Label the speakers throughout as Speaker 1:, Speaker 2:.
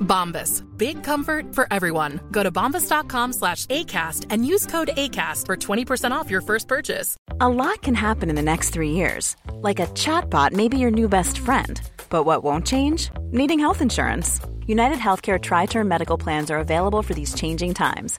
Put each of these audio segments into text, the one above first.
Speaker 1: Bombas. Big comfort for everyone. Go to bombas.com slash ACAST and use code ACAST for 20% off your first purchase.
Speaker 2: A lot can happen in the next three years. Like a chatbot may be your new best friend. But what won't change? Needing health insurance. United Healthcare Tri Term Medical Plans are available for these changing times.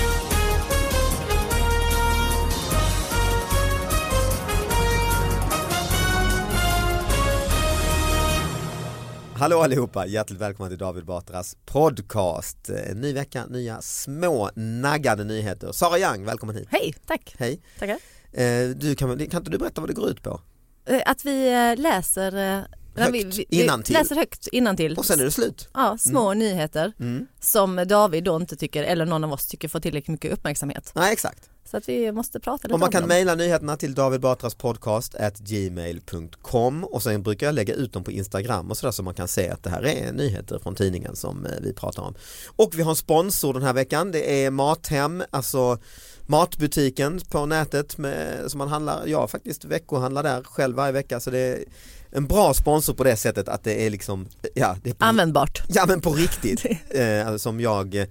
Speaker 3: Hallå allihopa, hjärtligt välkomna till David Batras podcast. Eh, Ny vecka, nya små naggade nyheter. Sara Young, välkommen hit.
Speaker 4: Hej, tack.
Speaker 3: Hej.
Speaker 4: Tackar.
Speaker 3: Eh, Du, kan, kan inte du berätta vad det går ut på?
Speaker 4: Eh, Att vi eh, läser, eh, nej, vi, vi, vi
Speaker 3: innantill.
Speaker 4: läser högt innantill.
Speaker 3: Och sen Mm. är det slut.
Speaker 4: Ja, små nyheter som David då inte tycker, eller någon av oss tycker får tillräckligt mycket uppmärksamhet.
Speaker 3: Nej, exakt.
Speaker 4: Så att vi måste prata lite
Speaker 3: Och man
Speaker 4: om
Speaker 3: kan
Speaker 4: dem.
Speaker 3: mejla nyheterna till davidbatraspodcast@gmail.com och sen brukar jag lägga ut dem på Instagram och sådär så man kan se att det här är nyheter från tidningen som eh, vi pratar om. Och vi har en sponsor den här veckan, det är Mathem, alltså matbutiken på nätet med, som man handlar, ja faktiskt veckohandlar där själv varje vecka så det är en bra sponsor på det sättet att det är liksom, ja det är på-
Speaker 4: Användbart.
Speaker 3: Ja men på riktigt, eh, alltså, som jag,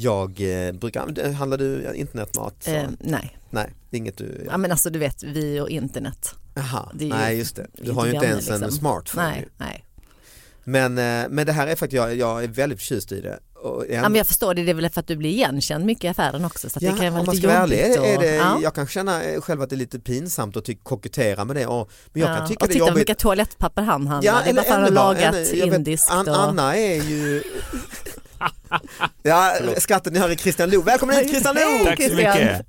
Speaker 3: jag eh, brukar, handlar du internetmat? Så?
Speaker 4: Eh, nej,
Speaker 3: Nej, det är inget du,
Speaker 4: ja, men alltså du vet vi och internet.
Speaker 3: Jaha,
Speaker 4: Det är ju
Speaker 3: nej just det. Du har ju inte
Speaker 4: vänner,
Speaker 3: ens en
Speaker 4: liksom.
Speaker 3: smartphone.
Speaker 4: Nej,
Speaker 3: ju.
Speaker 4: nej.
Speaker 3: Men, eh, men det här är faktiskt, jag, jag är väldigt förtjust i det. Och en-
Speaker 4: Ja, men jag förstår det, det är väl för att du blir igenkänd mycket i affären också så att
Speaker 3: Ja,
Speaker 4: det kan vara
Speaker 3: om man
Speaker 4: lite
Speaker 3: ska vara ärlig,
Speaker 4: jobbigt.
Speaker 3: är, är
Speaker 4: och-
Speaker 3: det,
Speaker 4: ja.
Speaker 3: jag kan känna eh, själv att det är lite pinsamt att ty- kokettera med det. Och, men jag
Speaker 4: Ja,
Speaker 3: kan tycka
Speaker 4: och
Speaker 3: det är
Speaker 4: titta
Speaker 3: jobbigt.
Speaker 4: vilka toalettpapper han handlar, det är bara för att han har
Speaker 3: ännu värre,
Speaker 4: lagat
Speaker 3: ännu- jag vet,
Speaker 4: indiskt.
Speaker 3: An-
Speaker 4: och...
Speaker 3: Anna är ju... ja, skatten ni hör är Christian Lok. Välkommen hit Christian Lok!
Speaker 4: Tack så mycket.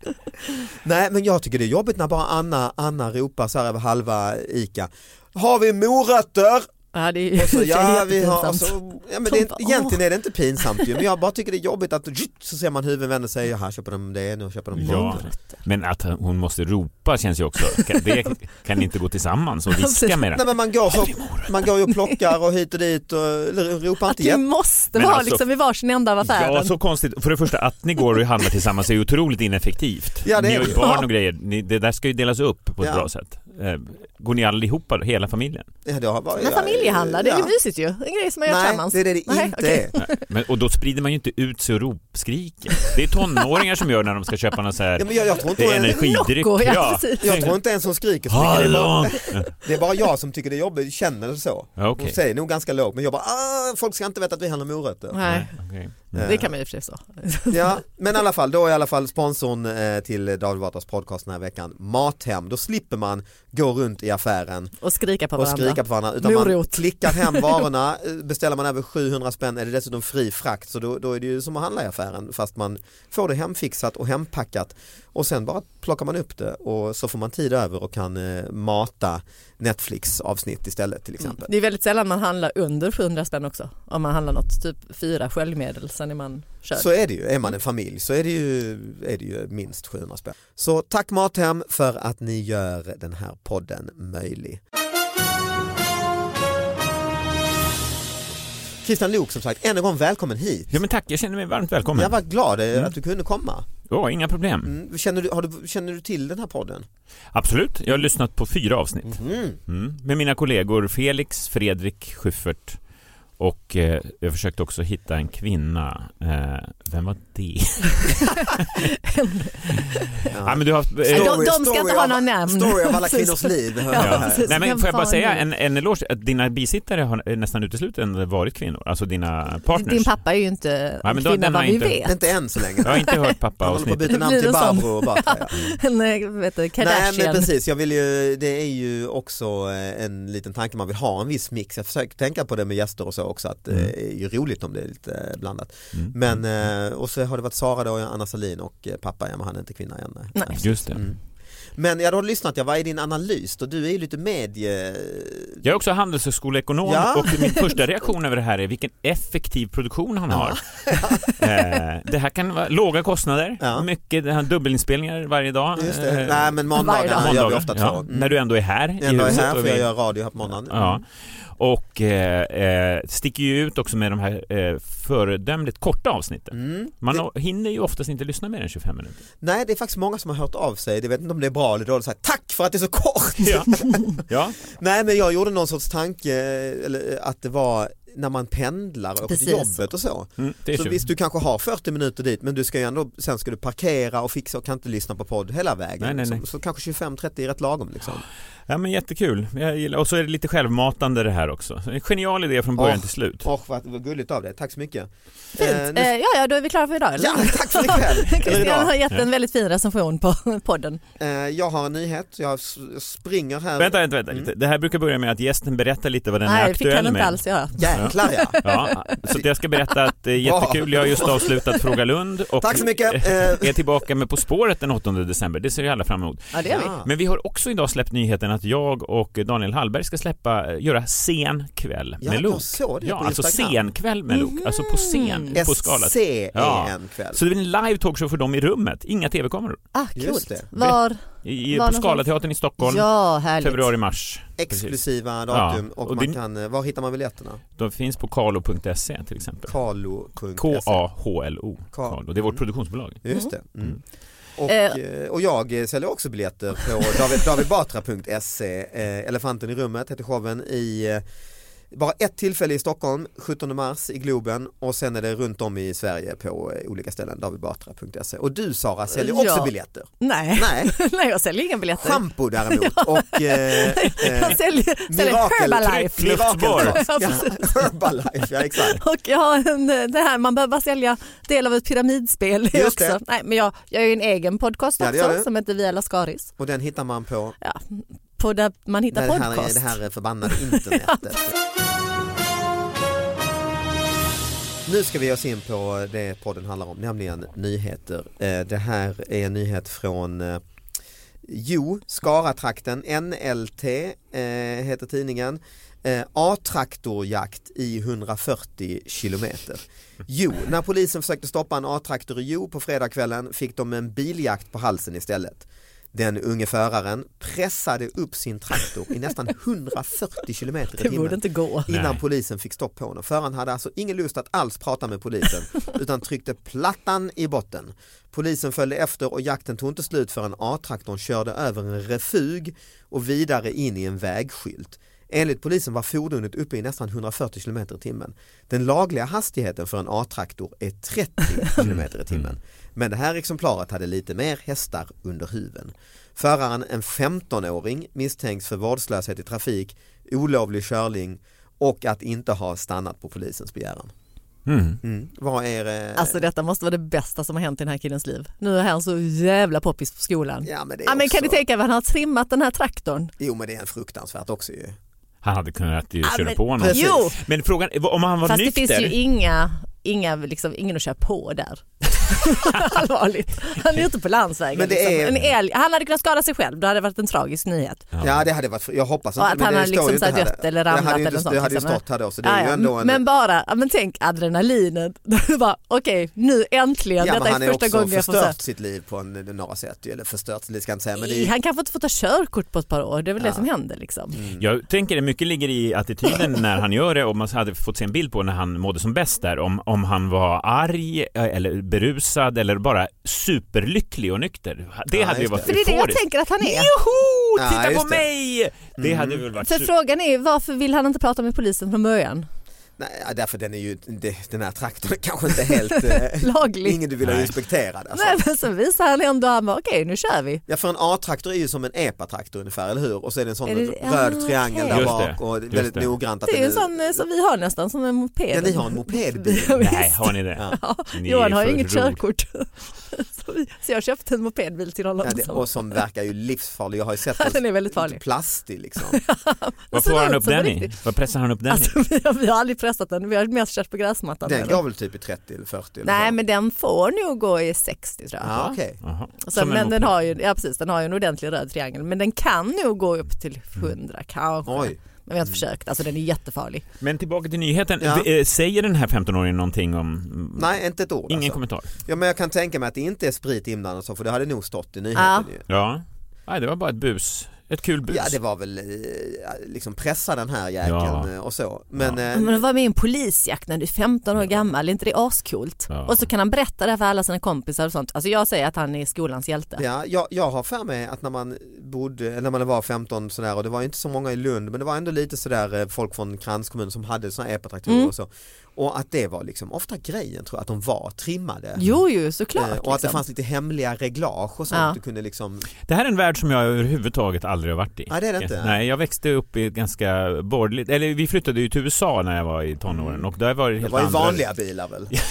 Speaker 3: Nej men jag tycker det är jobbigt när bara Anna, Anna ropar så här över halva ICA. Har vi morötter?
Speaker 4: Ja, det är ju
Speaker 3: Och så, ja, vi har, och
Speaker 4: jättepinsamt.
Speaker 3: så, ja, men
Speaker 4: De
Speaker 3: det,
Speaker 4: bara,
Speaker 3: egentligen är det inte pinsamt ju, men jag bara tycker det är jobbigt att zzt, så ser man huvuden vända sig, här köper de det, nu köper de
Speaker 5: Ja,
Speaker 3: det.
Speaker 5: men att hon måste ropa känns ju också, kan- det kan inte gå tillsammans och viska
Speaker 3: Nej
Speaker 5: med den.
Speaker 3: men Alltså, man går, så, man går ju och plockar och hit och dit och eller, ropar
Speaker 4: Att
Speaker 3: inte
Speaker 4: du
Speaker 3: jätte...
Speaker 4: måste
Speaker 5: Men
Speaker 4: vara
Speaker 5: alltså-
Speaker 4: liksom i varsin ända av affären.
Speaker 5: Ja, så konstigt. För det första, att ni går och handlar tillsammans är ju otroligt ineffektivt.
Speaker 3: Ja, det
Speaker 5: ni
Speaker 3: är
Speaker 5: har
Speaker 3: det.
Speaker 5: ju barn och grejer. Ni, det där ska ju delas upp på ett
Speaker 3: Ja.
Speaker 5: bra sätt. Eh, Går ni allihopa, då? hela familjen?
Speaker 3: Ja, det har varit-
Speaker 4: Men familjehandlar, det är ju
Speaker 3: ja.
Speaker 4: mysigt ju. En grej som man gör
Speaker 3: Nej,
Speaker 4: tillsammans.
Speaker 3: det är det det
Speaker 4: Nej,
Speaker 3: inte
Speaker 4: okej.
Speaker 3: är.
Speaker 5: Men, och då sprider man ju inte ut sig och ropskriker. Det är tonåringar som gör när de ska köpa någon så här
Speaker 3: Ja, men jag, jag, tror inte,
Speaker 5: det är energidryck.
Speaker 4: Nocco, ja, precis.
Speaker 3: jag tror inte ens hon skriker så mycket, det är, bara,
Speaker 5: Hallå!
Speaker 3: det är bara jag som tycker det är jobbigt, känner det så.
Speaker 5: Ja,
Speaker 3: Hon
Speaker 5: okej.
Speaker 3: säger nog ganska lågt, men jag bara, "Ah, folk ska inte veta att vi handlar morötter.
Speaker 4: Nej,
Speaker 5: Okej.
Speaker 4: det kan man ju i och för sig så.
Speaker 3: Ja, men i alla fall, då är i alla fall sponsorn eh, till David Batras podcast den här veckan Mathem. Då slipper man gå runt i affären
Speaker 4: Och skrika på
Speaker 3: och
Speaker 4: varandra.
Speaker 3: skrika på varandra. Utan man
Speaker 4: Morot.
Speaker 3: klickar hem varorna, eh, beställer man över 700 spänn är det dessutom fri frakt. Så då, då är det ju som att handla i affären fast man får det hemfixat och hempackat. Och sen bara plockar man upp det och så får man tid över och kan eh, mata Netflix-avsnitt istället till exempel.
Speaker 4: Det är väldigt sällan man handlar under 700 spänn också. Om man handlar något, typ fyra sköljmedel, sen är man körd.
Speaker 3: Så är det ju, är man en familj så är det ju, är det ju minst 700 spänn. Så tack Mathem för att ni gör den här podden möjlig. Christian Lok som sagt, än en gång välkommen hit.
Speaker 5: Ja men tack, jag känner mig varmt välkommen. Mm.
Speaker 3: Jag var glad eh, att du kunde komma.
Speaker 5: Ja, inga problem.
Speaker 3: Mm. Känner, du, har du, känner du till den här podden?
Speaker 5: Absolut, jag har lyssnat på fyra avsnitt.
Speaker 4: Mm-hmm.
Speaker 5: Mm. Med mina kollegor Felix, Fredrik, Schyffert och eh, jag försökte också hitta en kvinna. Eh, vem var det? ja, men du har haft, eh,
Speaker 4: Ja, de- de ska inte ha
Speaker 3: av-
Speaker 4: några namn.
Speaker 3: Story av alla
Speaker 4: Precis.
Speaker 3: kvinnors liv. hör
Speaker 4: Ja,
Speaker 3: jag här.
Speaker 4: precis.
Speaker 5: Nej, men
Speaker 4: Vem
Speaker 5: får jag bara
Speaker 4: fan
Speaker 5: säga
Speaker 4: är det?
Speaker 5: en, en eloge, att dina bisittare har eh, nästan uteslutande varit kvinnor, alltså dina partners.
Speaker 4: Din pappa är ju inte
Speaker 5: men
Speaker 4: en
Speaker 5: då-
Speaker 4: kvinna
Speaker 5: den har
Speaker 4: vad vi
Speaker 5: inte-
Speaker 4: vet.
Speaker 3: Inte än så länge.
Speaker 5: Jag har inte hört pappa
Speaker 3: Han håller på att
Speaker 5: avsnittet.
Speaker 3: byta namn
Speaker 4: Det
Speaker 3: till
Speaker 4: blir en sån.
Speaker 3: Barbro och Batra. Ja.
Speaker 4: Nej, vet du,
Speaker 3: Nej
Speaker 4: Kardashian.
Speaker 3: men precis, jag vill ju, det är ju också eh, en liten tanke, man vill ha en viss mix. Jag försöker tänka på det med gäster och så också, att
Speaker 5: Mm.
Speaker 3: eh, det är ju roligt om det är lite eh, blandat. Men,
Speaker 5: Mm.
Speaker 3: eh, och så har det varit Sara då, Anna Salin och eh, pappa, ja, men han är inte kvinna än. nej.
Speaker 4: Nej.
Speaker 5: Just det.
Speaker 3: Mm. Men jag har lyssnat, jag, vad är din analys då? Du är ju lite medie...
Speaker 5: Jag är också handelshögskoleekonom
Speaker 3: Ja.
Speaker 5: och min första reaktion över det här är vilken effektiv produktion han har. Eh, det här kan vara låga kostnader,
Speaker 3: Ja.
Speaker 5: mycket det här, dubbelinspelningar varje dag.
Speaker 3: Just det.
Speaker 5: Eh,
Speaker 3: Nej men måndagarna
Speaker 5: måndagar.
Speaker 3: gör vi ofta
Speaker 5: Ja,
Speaker 3: två. Mm.
Speaker 5: När du ändå är här i
Speaker 3: Ändå är
Speaker 5: huset.
Speaker 3: här, för
Speaker 5: och vi-
Speaker 3: jag gör radio här på måndagen.
Speaker 5: Ja. Och eh, eh, sticker ju ut också med de här eh, föredömligt korta avsnitten.
Speaker 3: Mm.
Speaker 5: Man hinner ju oftast inte lyssna mer än 25 minuter.
Speaker 3: Nej det är faktiskt många som har hört av sig, jag vet inte om det är bra eller dåligt, så här, tack för att det är så kort!
Speaker 5: Ja. ja.
Speaker 3: Nej men jag gjorde någon sorts tanke eller, att det var när man pendlar och åker till
Speaker 4: Precis.
Speaker 3: jobbet och så.
Speaker 5: Mm, det är
Speaker 3: Så
Speaker 5: tjugo.
Speaker 3: visst du kanske har 40 minuter dit men du ska ju ändå, sen ska du parkera och fixa och kan inte lyssna på podd hela vägen.
Speaker 5: Nej, nej, nej.
Speaker 3: Så, så kanske 25-30 är rätt lagom liksom.
Speaker 5: ja, men jättekul. Jag gillar. Och så är det lite självmatande det här också. Så En genial idé från början
Speaker 3: Åh.
Speaker 5: till slut.
Speaker 3: Åh vad, vad gulligt av dig, tack så mycket.
Speaker 4: Fint.
Speaker 3: Eh, nu-
Speaker 4: Eh, ja, ja, då är vi klara för idag. eller?
Speaker 3: Ja, tack för ikväll. Eller
Speaker 4: Christian har
Speaker 3: idag.
Speaker 4: gett en väldigt fin recension på podden.
Speaker 3: Eh, jag har en nyhet, jag s- jag springer här. Mm.
Speaker 5: Vänta, vänta, vänta. lite. Det här brukar börja med att gästen berättar lite vad den är
Speaker 4: Nej, det fick
Speaker 5: aktuell
Speaker 4: han inte
Speaker 5: med.
Speaker 4: alls göra.
Speaker 3: Jäklar ja.
Speaker 5: Ja, så jag ska berätta att det är
Speaker 3: Bra.
Speaker 5: jättekul. Jag har just avslutat Fråga Lund och
Speaker 3: Tack så mycket. Eh,
Speaker 5: är tillbaka med På spåret den 8 december. Det ser ju alla fram emot.
Speaker 4: Ja, det är vi.
Speaker 3: Ja.
Speaker 5: Men vi har också idag släppt nyheten att jag och Daniel Hallberg ska släppa, eh, göra sen kväll
Speaker 3: Ja,
Speaker 5: med
Speaker 3: jag
Speaker 5: Lok.
Speaker 3: såg det
Speaker 5: ja,
Speaker 3: på
Speaker 5: alltså
Speaker 3: Instagram. Mm-hmm.
Speaker 5: sen kväll med Lok, alltså på scen, på skalet.
Speaker 3: SC
Speaker 5: Ja.
Speaker 3: är en kväll.
Speaker 5: Så det blir en live talkshow för dem i rummet, inga tv-kameror.
Speaker 4: Ah,
Speaker 3: Just
Speaker 4: coolt.
Speaker 3: det.
Speaker 4: Var?
Speaker 5: I,
Speaker 4: Var
Speaker 5: på
Speaker 4: någonstans?
Speaker 5: Scalateatern i Stockholm,
Speaker 4: Ja, härligt.
Speaker 5: februari-mars.
Speaker 3: Exklusiva datum
Speaker 5: Ja,
Speaker 3: och,
Speaker 5: och
Speaker 3: man
Speaker 5: det-
Speaker 3: kan, eh, var hittar man biljetterna?
Speaker 5: De finns på kalo.se E, till exempel.
Speaker 3: Kalo.se
Speaker 5: K-A-H-L-O.
Speaker 3: Ka-
Speaker 5: Kalo. Det är vårt produktionsbolag.
Speaker 3: Just det. Mm. Och,
Speaker 4: Eh.
Speaker 3: eh, och jag eh, säljer också biljetter på David, davidbatra.se. Eh, Elefanten i rummet heter showen i eh, bara ett tillfälle i Stockholm, 17 mars i Globen och sen är det runt om i Sverige på eh, olika ställen, davidbatra.se. E. Och du Sara säljer också
Speaker 4: Ja.
Speaker 3: biljetter.
Speaker 4: Nej.
Speaker 3: Nej.
Speaker 4: Nej, jag säljer inga biljetter.
Speaker 3: Shampoo däremot och eh, eh,
Speaker 4: jag säljer, säljer Herbalife.
Speaker 3: Mirakelglas.
Speaker 4: Ja,
Speaker 3: eh, Ja,
Speaker 4: precis.
Speaker 3: Herbalife, ja exakt.
Speaker 4: Och jag har en, eh, det här, man behöver bara sälja del av ett pyramidspel
Speaker 3: det.
Speaker 4: också. Nej, men jag, jag har ju en egen podcast
Speaker 3: Ja, det gör
Speaker 4: också
Speaker 3: du.
Speaker 4: som heter Via Lascaris.
Speaker 3: Och den hittar man på
Speaker 4: Ja, på där man hittar
Speaker 3: det här,
Speaker 4: podcast.
Speaker 3: det här är förbannade internetet. Nu ska vi ge oss in på det podden handlar om, nämligen nyheter. Eh, Det här är en nyhet från eh, Jo, Skaratrakten, NLT eh, heter tidningen. Eh, A-traktorjakt i 140 kilometer. Jo, när polisen försökte stoppa en A-traktor i Jo på fredagskvällen fick de en biljakt på halsen istället. Den unge föraren pressade upp sin traktor i nästan 140 kilometer i
Speaker 4: Det borde
Speaker 3: timmen
Speaker 4: inte gå.
Speaker 3: innan
Speaker 5: Nej.
Speaker 3: polisen fick stopp på honom. Föraren hade alltså ingen lust att alls prata med polisen utan tryckte plattan i botten. Polisen följde efter och jakten tog inte slut förrän A-traktorn körde över en refug och vidare in i en vägskylt. Enligt polisen var fordonet uppe i nästan 140 km i timmen. Den lagliga hastigheten för en A-traktor är 30 km i timmen. Men det här exemplaret hade lite mer hästar under huven. Föraren, en 15-åring, misstänks för vårdslöshet i trafik, olovlig körning och att inte ha stannat på polisens begäran.
Speaker 5: Mm.
Speaker 3: Mm. Vad är det?
Speaker 4: Alltså detta måste vara det bästa som har hänt i den här killens liv. Nu är han så jävla poppis på skolan.
Speaker 3: ja, men det är
Speaker 4: Ja, men kan ni
Speaker 3: också...
Speaker 4: tänka er vad han har trimmat den här traktorn?
Speaker 3: Jo men det är en fruktansvärt också ju.
Speaker 5: Han hade kunnat ju
Speaker 4: Ja,
Speaker 5: köra
Speaker 4: men-
Speaker 5: på någon.
Speaker 3: Precis.
Speaker 4: Jo,
Speaker 5: Men frågan är om han var
Speaker 4: fast
Speaker 5: nykter?
Speaker 4: det finns ju inga, inga liksom, ingen att köra på där. Allvarligt, han är ute på landsvägen.
Speaker 3: Men det
Speaker 4: liksom.
Speaker 3: är-
Speaker 4: en älg. Han hade kunnat skada sig själv, då hade det varit en tragisk nyhet.
Speaker 3: Ja, det hade varit, jag hoppas
Speaker 4: Och
Speaker 3: inte
Speaker 4: att
Speaker 3: men
Speaker 4: han
Speaker 3: det
Speaker 4: hade
Speaker 3: står
Speaker 4: liksom
Speaker 3: ju inte
Speaker 4: så här
Speaker 3: här.
Speaker 4: dött eller
Speaker 3: Det hade
Speaker 4: ramlat
Speaker 3: ju inte-
Speaker 4: eller något sånt,
Speaker 3: Det hade ju
Speaker 4: liksom.
Speaker 3: stått här då så det är
Speaker 4: Ja,
Speaker 3: ju
Speaker 4: ja.
Speaker 3: ändå en...
Speaker 4: Men bara, ja, men tänk adrenalinet. Du bara, Okej, nu äntligen,
Speaker 3: ja, men
Speaker 4: detta
Speaker 3: han
Speaker 4: är första
Speaker 3: också
Speaker 4: gången jag får
Speaker 3: förstört
Speaker 4: se.
Speaker 3: sitt liv på en, några sätt ju, eller förstört sitt liv ska jag inte säga men det är ju,
Speaker 4: Han kanske inte får ta körkort på ett par år, det är väl det som händer liksom.
Speaker 3: Mm.
Speaker 5: Jag tänker det mycket ligger i attityden när han gör det och man hade fått se en bild på när han mådde som bäst där om, om han var arg eh, eller berusad eller bara superlycklig och nykter. Det
Speaker 3: Ja,
Speaker 5: hade ju
Speaker 3: just
Speaker 5: varit
Speaker 3: det.
Speaker 6: För det är det jag
Speaker 5: euforiskt.
Speaker 6: tänker att han är.
Speaker 5: Joho!
Speaker 3: Ja,
Speaker 5: Titta
Speaker 3: just
Speaker 5: på
Speaker 3: det. Mm.
Speaker 5: mig! Det hade väl varit
Speaker 4: För
Speaker 5: super-
Speaker 4: frågan är ju varför vill han inte prata med polisen från början?
Speaker 3: Nej, ja, därför den är ju, det- den här traktorn är kanske inte helt eh,
Speaker 4: Laglig.
Speaker 3: ingen du vill ha inspekterad. Alltså.
Speaker 4: Nej, men så visar han ändå armar, okej nu kör vi.
Speaker 3: Ja för en A-traktor är ju som en EPA-traktor ungefär, eller hur? Och så är det en sån
Speaker 4: Är det-
Speaker 3: röd
Speaker 4: Ah,
Speaker 3: triangel
Speaker 4: okej.
Speaker 3: där
Speaker 5: Just
Speaker 3: bak
Speaker 5: det,
Speaker 3: och
Speaker 5: just
Speaker 3: väldigt
Speaker 5: det.
Speaker 3: noggrant att
Speaker 4: Det är ju en
Speaker 3: den
Speaker 4: sån eh, som vi har nästan, som en moped.
Speaker 3: Ja ni har en mopedbil.
Speaker 4: Ja, visst.
Speaker 5: Nej, har ni det?
Speaker 4: Ja,
Speaker 5: Ni
Speaker 4: Johan
Speaker 5: är
Speaker 4: har ju
Speaker 5: för
Speaker 4: inget
Speaker 5: roliga.
Speaker 4: körkort. så, vi, så jag köpte en mopedbil till honom. liksom.
Speaker 3: Ja, det, och som verkar ju livsfarlig, jag har ju sett
Speaker 4: Ja, den är väldigt farlig.
Speaker 3: plastig liksom.
Speaker 4: Men
Speaker 5: Varför
Speaker 4: så
Speaker 5: har han
Speaker 4: låter
Speaker 5: upp
Speaker 4: som
Speaker 5: den
Speaker 4: på
Speaker 5: i?
Speaker 4: riktigt.
Speaker 5: Vad pressar han upp den i?
Speaker 4: Alltså, vi, har, vi har aldrig pressat den, vi har mest kört på gräsmattan.
Speaker 3: Den
Speaker 4: med
Speaker 3: går
Speaker 4: den.
Speaker 3: väl typ i 30 eller 40? eller
Speaker 4: Nej
Speaker 3: så.
Speaker 4: men den får nog gå i 60 tror jag.
Speaker 3: Ja, okej.
Speaker 5: Jaha.
Speaker 4: Så,
Speaker 5: Som en
Speaker 4: men den
Speaker 5: moped.
Speaker 4: har, ju, ja, precis, den har ju en ordentlig röd triangel men den kan nog gå upp till 100
Speaker 5: Mm.
Speaker 4: kanske.
Speaker 3: Oj.
Speaker 4: Men vi har inte försökt, alltså den är jättefarlig.
Speaker 5: Men tillbaka till nyheten.
Speaker 3: Ja.
Speaker 5: V- eh, Säger den här 15-åringen någonting om... mm,
Speaker 3: Nej inte ett ord
Speaker 5: Ingen
Speaker 3: alltså.
Speaker 5: kommentar?
Speaker 3: Ja men jag kan tänka mig att det inte är sprit inblandat så för det hade nog stått i nyheten
Speaker 4: Ja.
Speaker 3: ju.
Speaker 5: Ja. Nej, det var bara ett bus. Ett kul bus.
Speaker 3: Ja det var väl eh, liksom pressa den här
Speaker 5: Ja.
Speaker 3: jäkeln eh, och så. Men, eh,
Speaker 4: Men att vara med i en polisjakt när du är 15 år gammal, är inte det ascoolt?
Speaker 5: Ja.
Speaker 4: Och så kan han berätta det här för alla sina kompisar och sånt. Alltså jag säger att han är skolans hjälte.
Speaker 3: Ja, jag, jag har för mig att när man bodde, eller när man var 15 sådär och det var inte så många i Lund men det var ändå lite sådär eh, folk från kranskommunen som hade sådana epatraktorer
Speaker 4: Mm.
Speaker 3: och så. Och att det var liksom ofta grejen tror jag, att de var trimmade.
Speaker 4: Jo, ju
Speaker 3: Eh,
Speaker 4: såklart.
Speaker 3: och att det
Speaker 4: liksom.
Speaker 3: fanns lite hemliga reglage och sånt.
Speaker 4: Ja.
Speaker 3: Du kunde liksom,
Speaker 5: Det här är en värld som jag överhuvudtaget aldrig har varit i.
Speaker 3: Nej, det är det inte.
Speaker 5: Nej, jag växte upp i ett ganska borgerligt... Eller vi flyttade ju till USA när jag var i tonåren och där var det
Speaker 3: det
Speaker 5: helt
Speaker 3: var ju
Speaker 5: andra...
Speaker 3: vanliga bilar väl? Nej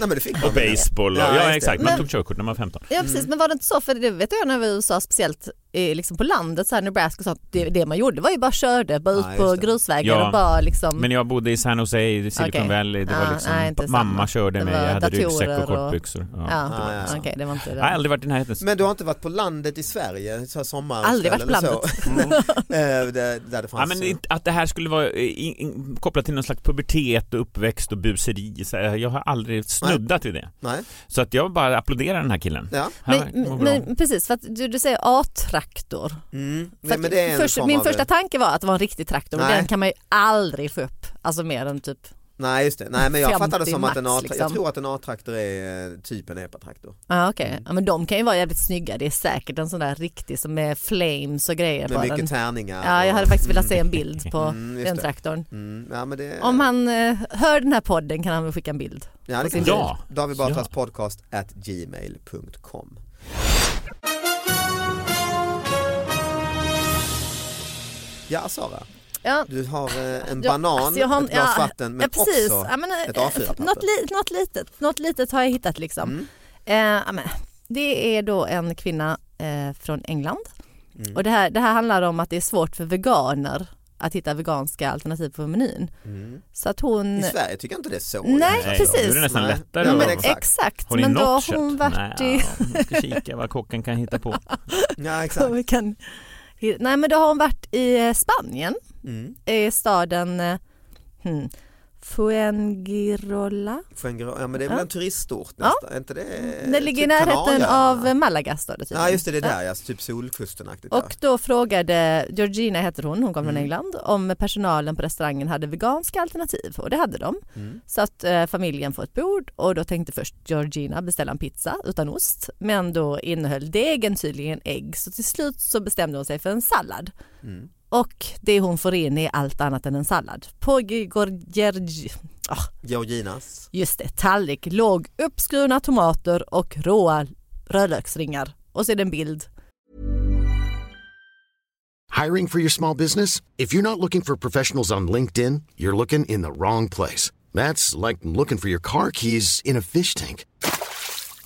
Speaker 3: men det fick
Speaker 5: Och
Speaker 3: man väl.
Speaker 5: baseball och,
Speaker 3: Ja,
Speaker 5: ja,
Speaker 3: just det.
Speaker 5: exakt, man
Speaker 4: Men-
Speaker 5: tog körkort när man var 15.
Speaker 4: Ja precis,
Speaker 3: Mm.
Speaker 4: men var det inte så, för det vet jag när vi var i USA, speciellt eh, liksom på landet, så här Nebraska och sånt, det, det man gjorde var ju bara körde, bara ut
Speaker 3: Ja, just
Speaker 4: på
Speaker 3: det.
Speaker 4: grusvägar
Speaker 5: Ja,
Speaker 4: och bara
Speaker 3: Mm.
Speaker 4: liksom.
Speaker 5: Men jag bodde i San Jose, i Silicon
Speaker 4: Okej.
Speaker 5: Valley, det
Speaker 4: Ah,
Speaker 5: var liksom,
Speaker 4: nej, inte samma.
Speaker 5: mamma körde
Speaker 4: Det
Speaker 5: mig,
Speaker 4: var
Speaker 5: jag hade ryggsäck
Speaker 4: datorer
Speaker 5: och
Speaker 4: och-
Speaker 5: kortbyxor. Ja.
Speaker 4: ja,
Speaker 3: ja, ja.
Speaker 4: okej det var inte det.
Speaker 5: Jag har aldrig varit i närheten.
Speaker 3: Men du har inte varit på landet i Sverige? Så här sommar
Speaker 4: Aldrig varit på
Speaker 3: där, där Eh, det
Speaker 5: Mm. Ja,
Speaker 3: fanns
Speaker 5: men inte- att det här skulle vara eh, in, in, kopplat till någon slags pubertet och uppväxt och buseri, så här, jag har aldrig snuddat vid det.
Speaker 3: Nej,
Speaker 5: Så att jag bara applåderar den här killen.
Speaker 3: ja.
Speaker 5: Han
Speaker 4: Men,
Speaker 5: mår
Speaker 4: men,
Speaker 5: bra.
Speaker 4: men precis, för att du, du säger A-traktor.
Speaker 3: Mm.
Speaker 4: För
Speaker 3: Nej,
Speaker 4: att
Speaker 3: men det är en
Speaker 4: först,
Speaker 3: form
Speaker 4: min
Speaker 3: av-
Speaker 4: första tanke var att det var en riktig traktor och
Speaker 3: Nej.
Speaker 4: den kan man ju aldrig få upp, alltså mer än typ,
Speaker 3: Nej just det, nej men jag
Speaker 4: 50
Speaker 3: fattade som att en
Speaker 4: max,
Speaker 3: A-traktor, jag
Speaker 4: liksom.
Speaker 3: tror att en A-traktor är eh, typ en epatraktor.
Speaker 4: ja okej, ja, men de kan ju vara jävligt snygga, det är säkert en sån där riktig som är flames och grejer
Speaker 3: Med
Speaker 4: på den.
Speaker 3: mycket tärningar.
Speaker 4: Ja, jag
Speaker 3: och-
Speaker 4: hade faktiskt velat se en bild på
Speaker 3: Mm, just
Speaker 4: den
Speaker 3: det.
Speaker 4: traktorn.
Speaker 3: Mm, ja, men det...
Speaker 4: Om han eh, hör den här podden kan han väl skicka en bild.
Speaker 3: ja, det
Speaker 4: på
Speaker 3: kan
Speaker 4: sin
Speaker 3: vi.
Speaker 5: bil.
Speaker 3: ja. David Batras
Speaker 5: Ja.
Speaker 3: podcast at gmail.com. Ja Sara,
Speaker 4: Ja.
Speaker 3: du har eh, en
Speaker 4: Ja,
Speaker 3: banan,
Speaker 4: alltså jag har-
Speaker 3: ett glas
Speaker 4: ja,
Speaker 3: vatten men också
Speaker 4: men,
Speaker 3: ett
Speaker 4: eh,
Speaker 3: A4-papper.
Speaker 4: något, li, något, litet, något litet har jag hittat liksom.
Speaker 3: Mm.
Speaker 4: Eh, ja, men, det är då en kvinna eh, från England
Speaker 3: Mm.
Speaker 4: och det här, det här handlar om att det är svårt för veganer att hitta veganska alternativ på menyn. Så att hon...
Speaker 3: Mm. I Sverige tycker jag inte det är så.
Speaker 4: Nej,
Speaker 5: Nej,
Speaker 4: precis.
Speaker 5: Nu är det nästan
Speaker 3: Nej.
Speaker 5: lättare.
Speaker 3: Ja,
Speaker 5: att-
Speaker 3: men
Speaker 4: men,
Speaker 3: exakt.
Speaker 4: exakt,
Speaker 5: Har ni
Speaker 4: men då
Speaker 5: något
Speaker 4: har
Speaker 5: kött?
Speaker 4: hon varit
Speaker 5: Nej,
Speaker 4: i...
Speaker 5: ja, vi ska kika vad kocken kan hitta på.
Speaker 3: Ja,
Speaker 4: Så
Speaker 3: exakt.
Speaker 4: vi kan... Nej men då har hon varit i eh, Spanien,
Speaker 3: Mm.
Speaker 4: i staden eh, hmm, Fuengirola.
Speaker 3: Fuengro- Ja, men det är väl
Speaker 4: Ja.
Speaker 3: en turistort
Speaker 4: Ja.
Speaker 3: nästan, är inte det?
Speaker 4: Den ligger i
Speaker 3: typ
Speaker 4: närheten
Speaker 3: Kanarieöarna?
Speaker 4: av eh, Malaga står det tydligen.
Speaker 3: Ja just det, det är där ja, typ solkusten-aktigt.
Speaker 4: Och då frågade Georgina, heter hon, hon kom
Speaker 3: Mm.
Speaker 4: från England, om personalen på restaurangen hade veganska alternativ och det hade de.
Speaker 3: Mm.
Speaker 4: Så att eh, familjen får ett bord och då tänkte först Georgina beställa en pizza utan ost men då innehöll degen tydligen ägg så till slut så bestämde hon sig för en sallad.
Speaker 3: Mm.
Speaker 4: Och det hon får in är allt annat än en sallad. På Georgi... ah,
Speaker 3: ja. Georginas.
Speaker 4: Just det, tallrik låg uppskurna tomater och råa rödlöksringar. Och så är det en bild.
Speaker 7: Hiring for your small business? If you're not looking for professionals on LinkedIn, you're looking in the wrong place. That's like looking for your car keys in a fish tank.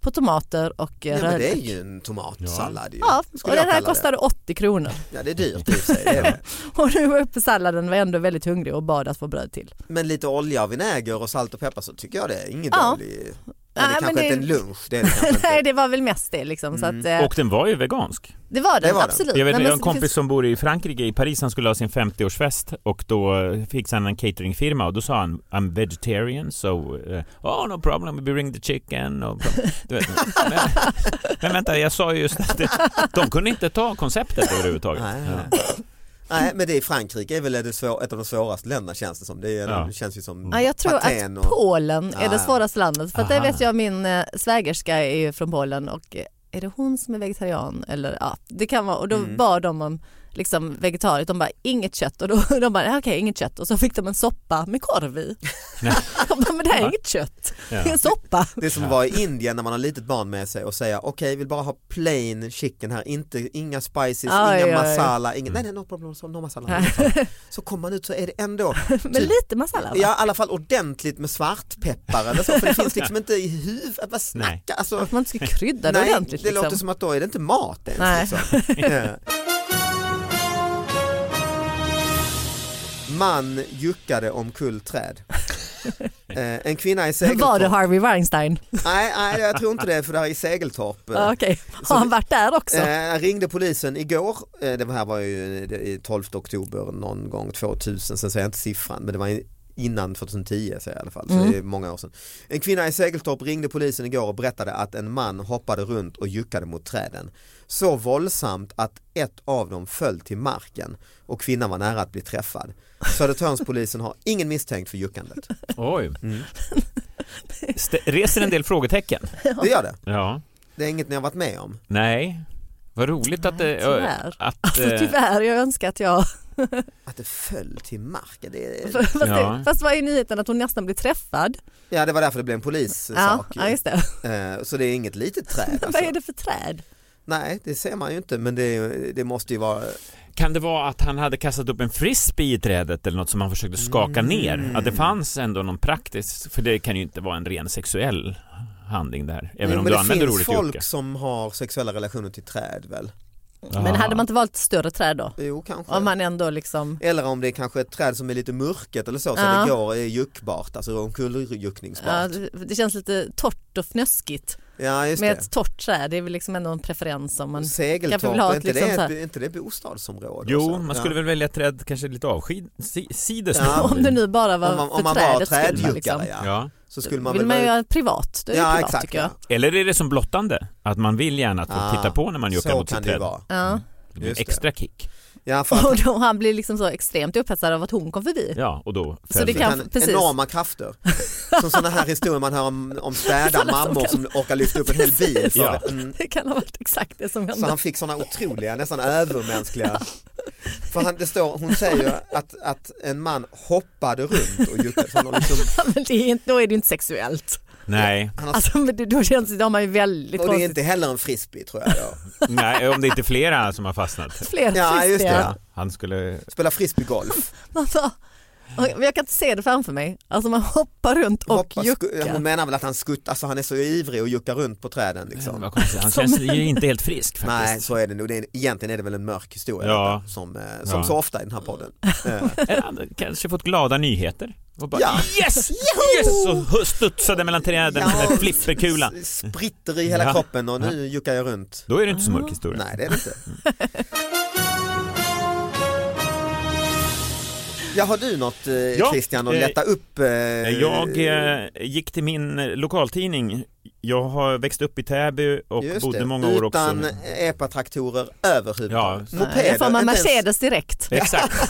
Speaker 4: På tomater och eh,
Speaker 3: Ja, men det är
Speaker 4: rödlök.
Speaker 3: ju en tomatsallad ju.
Speaker 4: Ja, och
Speaker 3: Skulle jag
Speaker 4: den här
Speaker 3: kalla det.
Speaker 4: kostade 80 kronor.
Speaker 3: Ja det är dyrt i och för sig. Det är det.
Speaker 4: Och nu var jag uppe på salladen och var ändå väldigt hungrig och bad att få bröd till.
Speaker 3: Men lite olja och vinäger och salt och peppar så tycker jag det är ingen
Speaker 4: Ja.
Speaker 3: dålig. Men det är
Speaker 4: Nej, men
Speaker 3: kanske
Speaker 4: det-
Speaker 3: inte en lunch. Det är det kanske
Speaker 4: Nej
Speaker 3: inte. Mm.
Speaker 4: det var väl mest det liksom. Så att, eh,
Speaker 5: Och den var ju vegansk.
Speaker 4: det var den,
Speaker 3: det var den.
Speaker 4: absolut.
Speaker 5: Jag vet
Speaker 4: Nej,
Speaker 5: jag
Speaker 4: men
Speaker 5: har en
Speaker 4: det
Speaker 5: kompis
Speaker 4: finns-
Speaker 5: som bor i Frankrike, i Paris, han skulle ha sin 50-årsfest och då fick han en cateringfirma och då sa han I'm vegetarian so eh, oh no problem we bring the chicken och du vet, men, men vänta jag sa ju just att det, de kunde inte ta konceptet överhuvudtaget.
Speaker 3: Nej,
Speaker 5: Ja.
Speaker 3: Nej men det är Frankrike är väl det svår, ett av de svåraste länderna känns det som. Det, är,
Speaker 5: Ja.
Speaker 3: det känns ju som
Speaker 4: Ja, jag tror
Speaker 3: Aten
Speaker 4: att Polen är
Speaker 3: Ja,
Speaker 4: det
Speaker 3: ja.
Speaker 4: svåraste landet. För att det
Speaker 5: Aha.
Speaker 4: vet jag, min eh, svägerska är ju från Polen och eh, är det hon som är vegetarian? Eller ja, det kan vara. Och då
Speaker 3: Mm.
Speaker 4: bad de om liksom vegetariskt, de bara inget kött och då de bara okej inget kött och så fick de en soppa med korv i. De bara, men det här är inget kött, det är en soppa.
Speaker 3: Det är som att vara i Indien när man har litet barn med sig och säga okej vill bara ha plain chicken här, inte, inga spices,
Speaker 4: Aj,
Speaker 3: inga
Speaker 4: aj, aj.
Speaker 3: masala, inga, nej nej no problem, so, no masala. no masala. Så kommer man ut så är det ändå
Speaker 4: Men lite masala va?
Speaker 3: Typ. Ja i alla fall ordentligt med svartpeppar eller så för det finns liksom inte i huvudet, vad
Speaker 5: Nej.
Speaker 3: snacka alltså.
Speaker 4: Att man inte ska krydda det
Speaker 3: Nej,
Speaker 4: ordentligt
Speaker 3: det
Speaker 4: liksom.
Speaker 3: låter som att då är det inte mat ens.
Speaker 4: Nej.
Speaker 3: Liksom. Ja. Man juckade om träd. Eh, en kvinna i Segeltorp.
Speaker 4: Var det Harvey Weinstein?
Speaker 3: Nej, nej, jag tror inte det för det här är i Segeltorp. eh.
Speaker 4: Ja, Ah, Okej,
Speaker 3: Så
Speaker 4: har han
Speaker 3: det-
Speaker 4: varit där också?
Speaker 3: Eh, jag ringde polisen igår, eh, det här var ju det är 12 oktober någon gång 2000, sen säger jag inte siffran men det var innan 2010 säger jag i alla fall, så
Speaker 4: Mm.
Speaker 3: det är många år sedan. En kvinna i Segeltorp ringde polisen igår och berättade att en man hoppade runt och juckade mot träden. Så våldsamt att ett av dem föll till marken och kvinnan var nära att bli träffad. Södertörnspolisen har ingen misstänkt för juckandet.
Speaker 5: Oj.
Speaker 3: Mm.
Speaker 5: St- reser en del frågetecken.
Speaker 3: Det gör det,
Speaker 5: Ja.
Speaker 3: det är inget ni har varit med om.
Speaker 5: Nej. Vad roligt att det...
Speaker 4: tyvärr.
Speaker 5: Att,
Speaker 4: Alltså
Speaker 5: eh,
Speaker 4: tyvärr, jag önskar att jag...
Speaker 3: Att det föll till marken, det är...
Speaker 4: fast,
Speaker 5: Ja.
Speaker 4: fast vad är nyheten att hon nästan blir träffad?
Speaker 3: ja det var därför det blev en polissak.
Speaker 4: Ja,
Speaker 3: ju.
Speaker 4: ja just det.
Speaker 3: Eh, Så det är inget litet träd. Alltså.
Speaker 4: Vad är det för träd?
Speaker 3: Nej, det ser man ju inte, men det, det måste ju vara...
Speaker 5: Kan det vara att han hade kastat upp en frisbee i trädet eller något som han försökte skaka
Speaker 3: Mm.
Speaker 5: ner? Att det fanns ändå någon praktisk, för det kan ju inte vara en ren sexuell handling där. Även
Speaker 3: Jo, men
Speaker 5: om du
Speaker 3: det
Speaker 5: använder
Speaker 3: finns
Speaker 5: ordet
Speaker 3: folk
Speaker 5: jucka.
Speaker 3: som har sexuella relationer till träd väl?
Speaker 4: Men hade man inte valt större träd då?
Speaker 3: Jo, kanske.
Speaker 4: Om man ändå liksom...
Speaker 3: Eller om det är kanske ett träd som är lite mörket eller så, så
Speaker 4: Ja.
Speaker 3: att det går är juckbart, alltså
Speaker 4: Ja,
Speaker 3: omkulljuckningsbart. Ja,
Speaker 4: det det känns lite torrt och fnöskigt
Speaker 3: just
Speaker 4: med
Speaker 3: det.
Speaker 4: ett torrt träd. Det är väl liksom ändå en preferens om man... kanske
Speaker 3: Segeltorp,
Speaker 4: vill ha
Speaker 3: är
Speaker 4: ett
Speaker 3: inte,
Speaker 4: liksom så
Speaker 3: det,
Speaker 4: här-
Speaker 3: ett, är inte det bostadsområde? och
Speaker 5: Jo,
Speaker 3: så?
Speaker 5: man skulle väl välja ett träd kanske lite avsides.
Speaker 3: Ja.
Speaker 4: Om det nu bara var
Speaker 3: om man,
Speaker 4: för
Speaker 3: om man var
Speaker 4: trädets skull.
Speaker 3: trädjuckare
Speaker 4: liksom.
Speaker 3: ja.
Speaker 5: Ja.
Speaker 3: så skulle man
Speaker 4: Vill
Speaker 3: väl
Speaker 4: man
Speaker 3: vara-
Speaker 4: göra privat, då är det
Speaker 3: Ja,
Speaker 4: privat
Speaker 3: exakt.
Speaker 4: tycker jag.
Speaker 5: Eller är det som blottande? Att man vill gärna att folk
Speaker 3: Ah,
Speaker 5: tittar på när man juckar
Speaker 3: så
Speaker 5: mot
Speaker 3: kan
Speaker 5: sitt
Speaker 3: det ju
Speaker 5: träd.
Speaker 3: vara.
Speaker 4: Ja.
Speaker 5: Det blir
Speaker 3: Just
Speaker 5: extra kick.
Speaker 3: Ja, för att,
Speaker 4: Och då han blir liksom så extremt upphetsad av att hon kom förbi.
Speaker 5: Ja, och då
Speaker 4: Så
Speaker 5: föll
Speaker 4: det
Speaker 3: det
Speaker 4: kan-
Speaker 3: kan,
Speaker 4: precis.
Speaker 3: enorma krafter. Som sådana här historier man hör om, om städa
Speaker 4: Sådana som
Speaker 3: mammor
Speaker 4: kan-
Speaker 3: som orkar lyfta upp en hel bil. För,
Speaker 5: Ja.
Speaker 3: mm,
Speaker 4: Det kan ha varit exakt det som
Speaker 3: Så
Speaker 4: hände.
Speaker 3: han fick sådana otroliga, nästan övermänskliga. För han, det står, hon säger ju att, att en man hoppade runt och juckade. Så han, har liksom,
Speaker 4: Men det är inte, då är det ju inte sexuellt.
Speaker 5: Nej,
Speaker 3: han har,
Speaker 4: Alltså, men det- då känns det, då har man ju väldigt
Speaker 3: och det är
Speaker 4: konstigt.
Speaker 3: inte heller en frisbee tror jag. Då.
Speaker 5: nej, om det inte är flera som har fastnat.
Speaker 4: Flera
Speaker 3: Ja just det, ja.
Speaker 5: Ja, han skulle...
Speaker 3: spela frisbeegolf.
Speaker 4: Alltså, men jag kan inte se det framför mig. Alltså man hoppar runt och
Speaker 3: Hoppa,
Speaker 4: juckar.
Speaker 3: sku- Hon menar väl att han skuttar, alltså han är så ivrig och juckar runt på träden. Liksom.
Speaker 5: Vad konstigt, han känns ju inte helt frisk faktiskt.
Speaker 3: Nej så är det nog, det är, egentligen är det väl en mörk historia
Speaker 5: Ja.
Speaker 3: detta, som, eh, som
Speaker 5: Ja.
Speaker 3: så ofta i den här podden.
Speaker 4: Mm.
Speaker 3: Eh,
Speaker 5: Eller han kanske fått glada nyheter och bara
Speaker 3: Ja.
Speaker 5: yes, yes och hu- studsade mellan träden
Speaker 3: Ja.
Speaker 5: med flipperkulan.
Speaker 3: s- Spritter i hela
Speaker 5: Ja.
Speaker 3: kroppen och nu juckar jag runt.
Speaker 5: Då är det inte så mörk historia.
Speaker 3: Nej det är det inte. Ja, har du något eh,
Speaker 5: Ja,
Speaker 3: Christian att
Speaker 5: eh,
Speaker 3: lätta upp? Eh,
Speaker 5: Jag eh, gick till min eh, lokaltidning. Jag har växt upp i Täby och
Speaker 3: just
Speaker 5: bodde
Speaker 3: det,
Speaker 5: många år
Speaker 3: Utan eh,
Speaker 5: också.
Speaker 3: epatraktorer överhuvudtaget.
Speaker 5: Ja.
Speaker 4: Nej, Då får man
Speaker 3: inte ens-
Speaker 4: Mercedes direkt.
Speaker 5: Exakt.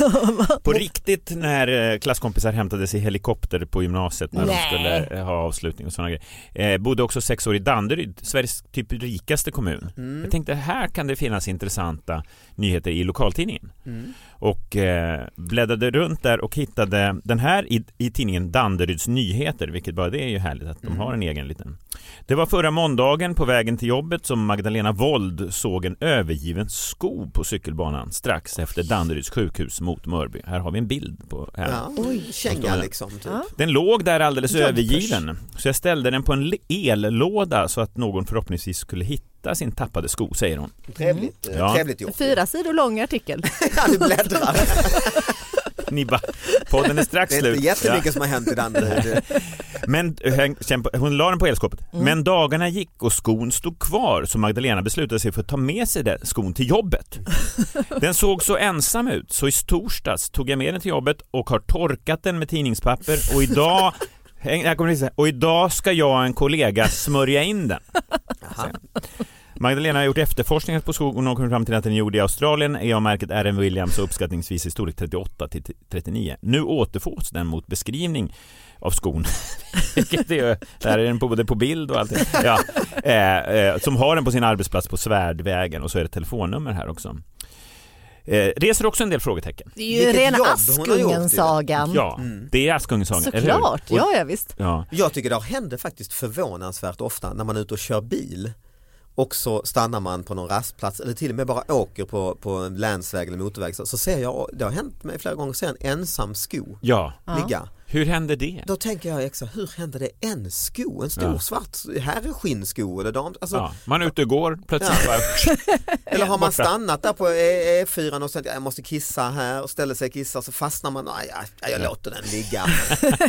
Speaker 5: På riktigt när eh, klasskompisar hämtades i helikopter på gymnasiet när
Speaker 4: Nej.
Speaker 5: de skulle eh, ha avslutning och sådana grejer. Eh, bodde också sex år i Danderyd, Sveriges typ rikaste kommun. Jag tänkte här kan det finnas intressanta nyheter i lokaltidningen. Och eh, bläddrade runt där och hittade den här i, i tidningen Danderyds Nyheter, vilket bara det är ju härligt att de har en egen liten. Det var förra måndagen på vägen till jobbet som Magdalena Wold såg en övergiven sko på cykelbanan strax efter Danderyds sjukhus mot Mörby. Här har vi en bild på henne.
Speaker 3: Ja. Känga liksom. Typ.
Speaker 5: Den låg där alldeles
Speaker 3: Jumpers.
Speaker 5: övergiven, så jag ställde den på en l- ellåda så att någon förhoppningsvis skulle hitta sin tappade sko, säger hon.
Speaker 3: Trevligt, eh,
Speaker 5: Mm. Ja.
Speaker 3: trevligt gjort.
Speaker 4: Fyra sidor lång artikel.
Speaker 3: Ja, du bläddrar.
Speaker 5: Ni bara, podden är strax
Speaker 3: Det är
Speaker 5: slut.
Speaker 3: inte jättemycket som har hänt i Danderyd.
Speaker 5: Men eh, häng- kämpa- hon la den på elskåpet. Men dagarna gick och skon stod kvar så Magdalena beslutade sig för att ta med sig den skon till jobbet. Den såg så ensam ut så i torsdags tog jag med den till jobbet och har torkat den med tidningspapper och idag häng- här kommer det sista. och idag ska jag och en kollega smörja in den. Magdalena har gjort efterforskningar på skogen och kommit fram till att den är gjord i Australien, EA-märket RM Williams och uppskattningsvis i storlek 38 till 39. Nu återfås den mot beskrivning av skon. Vilket är, ju- där är den på, både på bild och allting. Ja, eh, eh, som har den på sin arbetsplats på Svärdvägen och så är det ett telefonnummer här också. Eh, reser också en del frågetecken.
Speaker 4: Det är ju
Speaker 3: Vilket
Speaker 4: rena
Speaker 3: jobb hon har gjort, ju.
Speaker 4: Askungen-sagan.
Speaker 5: Ja, det är Askungen-sagan,
Speaker 4: Såklart,
Speaker 5: eller hur? Och-
Speaker 4: ja, ja visst.
Speaker 5: Ja.
Speaker 3: Jag tycker det händer faktiskt förvånansvärt ofta när man är ute och kör bil och så stannar man på någon rastplats eller till och med bara åker på, på en länsväg eller motorväg så, så ser jag, det har hänt mig flera gånger, ser en ensam sko
Speaker 5: ja,
Speaker 3: ligga.
Speaker 5: hur hände det?
Speaker 3: Då tänker jag extra, hur händer det en sko? En stor
Speaker 5: Ja.
Speaker 3: svart herrskinnsko eller dam, alltså,
Speaker 5: Ja, man är ute och går, plötsligt bara...
Speaker 3: Eller har man
Speaker 5: Borta.
Speaker 3: stannat där på E- E4 och sagt jag måste kissa här och ställer sig och kissar så fastnar man, nej jag, jag låter den ligga.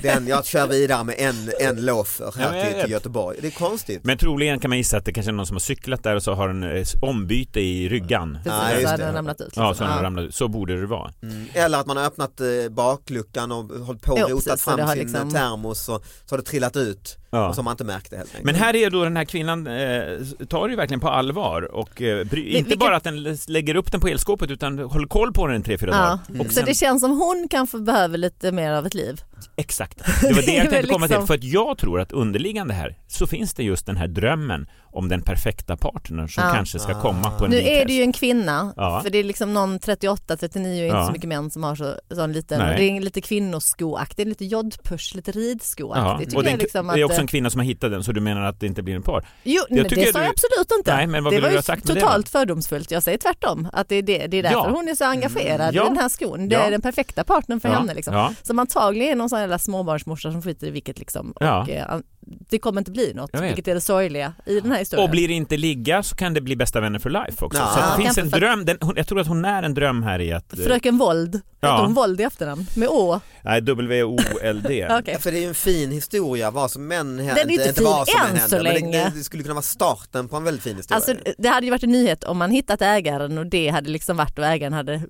Speaker 3: Den, jag kör vidare med en, en loafer
Speaker 5: Ja, men
Speaker 3: här
Speaker 5: jag
Speaker 3: till,
Speaker 5: vet.
Speaker 3: till Göteborg. Det är konstigt.
Speaker 5: Men troligen kan man gissa att det kanske är någon som har cyklat där och så har en eh, ombyte i ryggan.
Speaker 4: Precis,
Speaker 3: Ja,
Speaker 4: så
Speaker 3: just
Speaker 4: hade
Speaker 3: det.
Speaker 4: den ramlat ut.
Speaker 5: Ja, så,
Speaker 4: liksom.
Speaker 5: den har
Speaker 4: Ja.
Speaker 5: ramlat ut. så borde det vara.
Speaker 3: Eller att man har öppnat eh, bakluckan och hållit på och
Speaker 4: Jo,
Speaker 3: rotat
Speaker 4: precis, så det
Speaker 3: fram
Speaker 4: har
Speaker 3: sin eh,
Speaker 4: liksom-
Speaker 3: termos och så har det trillat ut
Speaker 5: Ja.
Speaker 3: och så har man inte märkt det helt enkelt.
Speaker 5: Men här är då den här kvinnan, eh, tar det ju verkligen på allvar och eh, bry, inte
Speaker 4: vilket-
Speaker 5: bara att den l- lägger upp den på elskåpet utan håller koll på den i tre, fyra
Speaker 4: Ja. Mm.
Speaker 5: dagar. Och
Speaker 4: Så
Speaker 5: sen,
Speaker 4: det känns som hon kanske behöver lite mer av ett liv.
Speaker 5: Exakt, det var det
Speaker 4: Det är
Speaker 5: jag
Speaker 4: väl
Speaker 5: tänkte komma till.
Speaker 4: liksom-
Speaker 5: För att jag tror att underliggande här så finns det just den här drömmen om den perfekta partnern som
Speaker 4: Ja.
Speaker 5: kanske ska komma på en
Speaker 4: Nu
Speaker 5: vit
Speaker 4: är
Speaker 5: häst.
Speaker 4: det ju en kvinna,
Speaker 5: Ja.
Speaker 4: för det är liksom någon 38-39 är inte
Speaker 5: Ja.
Speaker 4: så mycket män som har så, sån liten,
Speaker 5: Nej.
Speaker 4: det är en lite kvinnoskoaktig, lite jodpush, lite
Speaker 5: Ja,
Speaker 4: ridskoaktig.
Speaker 5: och
Speaker 4: det,
Speaker 5: det,
Speaker 4: jag liksom att,
Speaker 5: det är också en kvinna som har hittat den så du menar att det inte blir en par?
Speaker 4: jo, men
Speaker 5: tycker
Speaker 4: det sa jag
Speaker 5: du-
Speaker 4: absolut inte.
Speaker 5: Nej, men vad
Speaker 4: det
Speaker 5: ville
Speaker 4: var
Speaker 5: du
Speaker 4: ju
Speaker 5: ha sagt med det
Speaker 4: totalt fördomsfullt, jag säger tvärtom. Att det, är det, det är därför
Speaker 5: Ja. Mm,
Speaker 4: hon är så engagerad
Speaker 5: Ja.
Speaker 4: i den här skon, det
Speaker 5: Ja.
Speaker 4: är den perfekta partnern för
Speaker 5: Ja.
Speaker 4: henne. Liksom.
Speaker 5: Ja.
Speaker 4: Som antagligen är någon sån jävla småbarnsmorsa som skiter i vilket liksom.
Speaker 5: Ja.
Speaker 4: Och, eh, an- det kommer inte bli något,
Speaker 5: Jag vet.
Speaker 4: vilket är det sorgliga i den här historien.
Speaker 5: Och blir det inte ligga så kan det bli bästa vänner för life också.
Speaker 3: Ja.
Speaker 5: Så att
Speaker 3: Ja,
Speaker 5: det finns
Speaker 4: kanske
Speaker 5: en
Speaker 4: för-
Speaker 5: dröm, den, hon- jag tror att hon är en dröm här i att... eh,
Speaker 4: Fröken Vold,
Speaker 5: Ja.
Speaker 4: hette hon Vold i efternamn? Med Å?
Speaker 5: Nej, W-O-L-D.
Speaker 4: Okej.
Speaker 3: Ja, För det är ju en fin historia vad som än händer.
Speaker 4: Den är inte fin
Speaker 3: vad som
Speaker 4: än så
Speaker 3: men det-
Speaker 4: länge.
Speaker 3: Det, det skulle kunna vara starten på en väldigt fin historia.
Speaker 4: Alltså, det hade ju varit en nyhet om man hittat ägaren och det hade liksom varit och ägaren hade eh,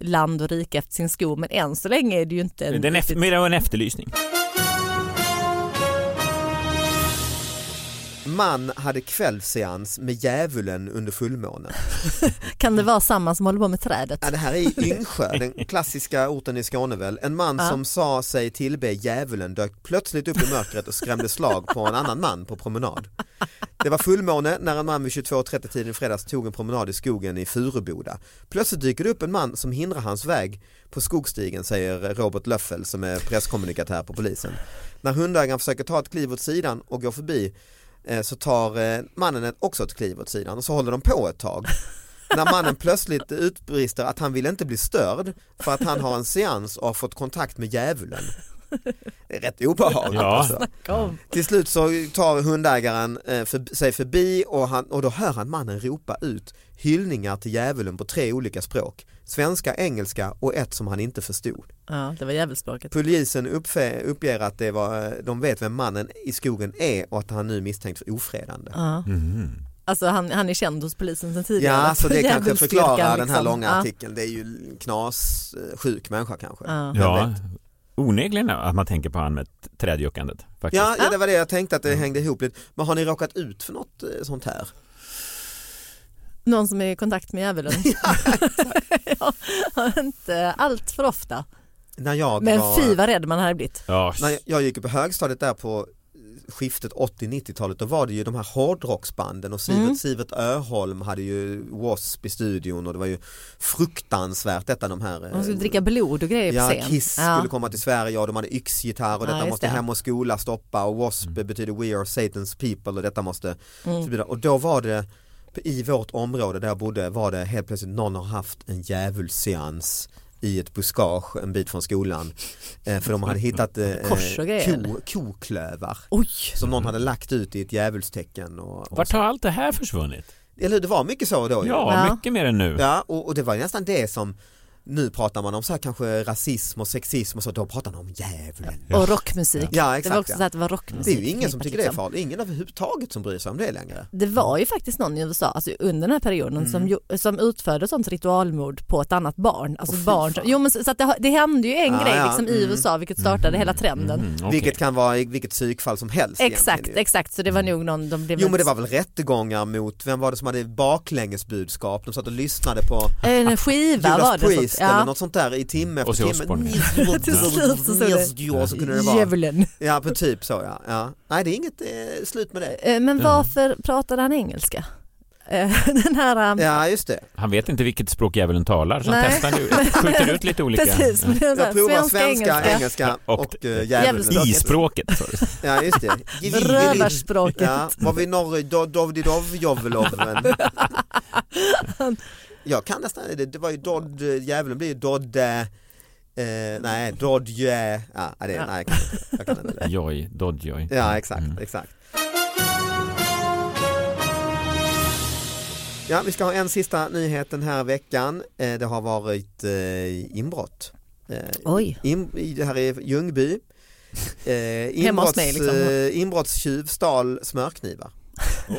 Speaker 4: land och rike efter sin sko men än så länge är det ju inte en
Speaker 5: Det är en, efter,
Speaker 4: riktigt-
Speaker 5: men det var en efterlysning.
Speaker 3: Man hade kvällsseans med djävulen under fullmånen.
Speaker 4: Kan det vara samma som håller på med trädet?
Speaker 3: Ja, det här är i Yngsjö, den klassiska orten i Skåne väl. En man som sa sig tillbe djävulen dök plötsligt upp i mörkret och skrämde slag på en annan man på promenad. Det var fullmåne när en man vid 22.30 tiden i fredags tog en promenad i skogen i Furuboda. Plötsligt dyker det upp en man som hindrar hans väg på skogsstigen säger Robert Löffel som är presskommunikatör på polisen. När hundägaren försöker ta ett kliv åt sidan och går förbi eh, så tar eh, mannen ett- också ett kliv åt sidan och så håller de på ett tag när mannen plötsligt utbrister att han vill inte bli störd för att han har en seans och har fått kontakt med djävulen. Det är rätt obehagligt.
Speaker 5: Ja.
Speaker 3: Alltså. Till slut så tar hundägaren eh, för, sig förbi och, han, och då hör han mannen ropa ut hyllningar till djävulen på tre olika språk. Svenska, engelska och ett som han inte förstod.
Speaker 4: Ja, det var djävulspråket.
Speaker 3: Polisen uppfe, uppger att det var, eh, de vet vem mannen i skogen är och att han nu är misstänkt för ofredande.
Speaker 4: Alltså han, han är känd hos polisen sedan tidigare.
Speaker 3: Ja, så det kanske
Speaker 4: Djävulsdyrkan,
Speaker 3: förklarar den här
Speaker 4: liksom.
Speaker 3: långa
Speaker 4: Ja.
Speaker 3: artikeln. Det är ju knas, eh, sjuk människa kanske.
Speaker 4: Ja.
Speaker 3: Jag
Speaker 5: Ja,
Speaker 3: vet.
Speaker 5: onekligen att man tänker på han med t- trädjuckandet. Faktiskt.
Speaker 3: Ja, ja, det var det jag tänkte att det hängde ihop lite. Men har ni råkat ut för något eh, sånt här?
Speaker 4: Någon som är i kontakt med djävulen. ja, inte allt för ofta.
Speaker 3: När jag
Speaker 4: Men
Speaker 3: var,
Speaker 4: fy vad rädd man hade blivit.
Speaker 5: Ja,
Speaker 3: När jag gick på högstadiet där på skiftet 80-90-talet då var det ju de här hårdrocksbanden och Sivert,
Speaker 4: Mm.
Speaker 3: Sivert Öholm hade ju W.A.S.P i studion och det var ju fruktansvärt detta de här eh,
Speaker 4: De skulle dricka blod och grejer på
Speaker 3: Ja,
Speaker 4: scen.
Speaker 3: Kiss
Speaker 4: Ja.
Speaker 3: skulle komma till Sverige och de hade yxgitarr och detta
Speaker 4: Ja, just
Speaker 3: måste
Speaker 4: det.
Speaker 3: hem och skola stoppa och W.A.S.P betyder We are Satan's people och detta måste
Speaker 4: Mm.
Speaker 3: förbjudas. Och då var det i vårt område där jag bodde var det helt plötsligt någon har haft en djävulsseans i ett buskage en bit från skolan. Eh, för de hade hittat eh,
Speaker 4: Kors och grejer,
Speaker 3: ko, koklövar
Speaker 4: Oj!
Speaker 3: som någon hade lagt ut i ett djävulstecken. Och, och
Speaker 5: Vart
Speaker 3: så.
Speaker 5: har allt det här försvunnit?
Speaker 3: Eller hur, det var mycket så då. ju.
Speaker 5: Ja,
Speaker 4: Ja.
Speaker 5: mycket mer än nu.
Speaker 3: Ja, och, och det var ju nästan det som nu pratar man om så här kanske rasism och sexism och så, då pratar man om djävulen.
Speaker 4: Och rockmusik.
Speaker 3: Ja,
Speaker 4: det
Speaker 3: exakt,
Speaker 4: var också
Speaker 3: ja.
Speaker 4: så att det var rockmusik.
Speaker 3: Det är ju ingen som
Speaker 4: förknippat,
Speaker 3: tycker det är
Speaker 4: liksom.
Speaker 3: farligt, ingen överhuvudtaget som bryr sig om det längre.
Speaker 4: Det var ju faktiskt någon i USA alltså under den här perioden
Speaker 3: Mm.
Speaker 4: som, ju- som utförde sånt ritualmord på ett annat barn. Alltså
Speaker 3: Åh, fy
Speaker 4: barn
Speaker 3: fan.
Speaker 4: jo, men så så att det, har- det hände ju en
Speaker 3: Ja,
Speaker 4: grej
Speaker 3: ja,
Speaker 4: liksom, i
Speaker 3: mm.
Speaker 4: USA vilket startade hela trenden.
Speaker 5: Mm, okej.
Speaker 3: Vilket kan vara i vilket psykfall som helst.
Speaker 4: Exakt,
Speaker 3: egentligen ju.
Speaker 4: exakt. Så det var nog någon, de blev
Speaker 3: Jo men det var väl rättegångar mot, vem var det som hade baklängesbudskap? De satt och lyssnade på
Speaker 4: En skiva var
Speaker 3: Judas
Speaker 4: det.
Speaker 3: Priest
Speaker 4: så att-
Speaker 3: eller något sånt där i timme efter
Speaker 5: Och så Osborne.
Speaker 3: timme.
Speaker 4: Till slut så stod det-
Speaker 3: Ja, så kunde det
Speaker 4: ja.
Speaker 3: vara.
Speaker 4: Djävulen.
Speaker 3: Ja, på typ så ja. ja. Nej, det är inget eh, slut med det.
Speaker 4: Eh, Men varför pratade han engelska? Eh, Den här... eh,
Speaker 3: Ja, just det.
Speaker 5: Han vet inte vilket språk djävulen talar så han
Speaker 4: Nej.
Speaker 5: testar nu, skjuter ut lite olika.
Speaker 4: Precis, men det är så här,
Speaker 3: Jag provar Alltså, svenska, engelska,
Speaker 5: Och-
Speaker 3: och, eh, djävulspråket.
Speaker 5: I-språket.
Speaker 3: Ja just det.
Speaker 4: Rövarspråket.
Speaker 3: Ja, var vi norr, do- dovdidov, joveloven. Jag kan nästan, det, det var ju dodd, djävulen blir ju dodd, eh, nej dodje, ja, det, nej jag kan inte, jag kan inte det.
Speaker 5: Joj, dodjoj. Mm.
Speaker 3: Ja exakt, exakt. Ja, vi ska ha en sista nyhet den här veckan. Eh, Det har varit eh, inbrott. Eh,
Speaker 4: Oj.
Speaker 3: in, i- det här är Ljungby. Eh,
Speaker 4: Hemma hos
Speaker 3: inbrotts,
Speaker 4: mig, liksom.
Speaker 3: eh, inbrottstjuv stal smörknivar.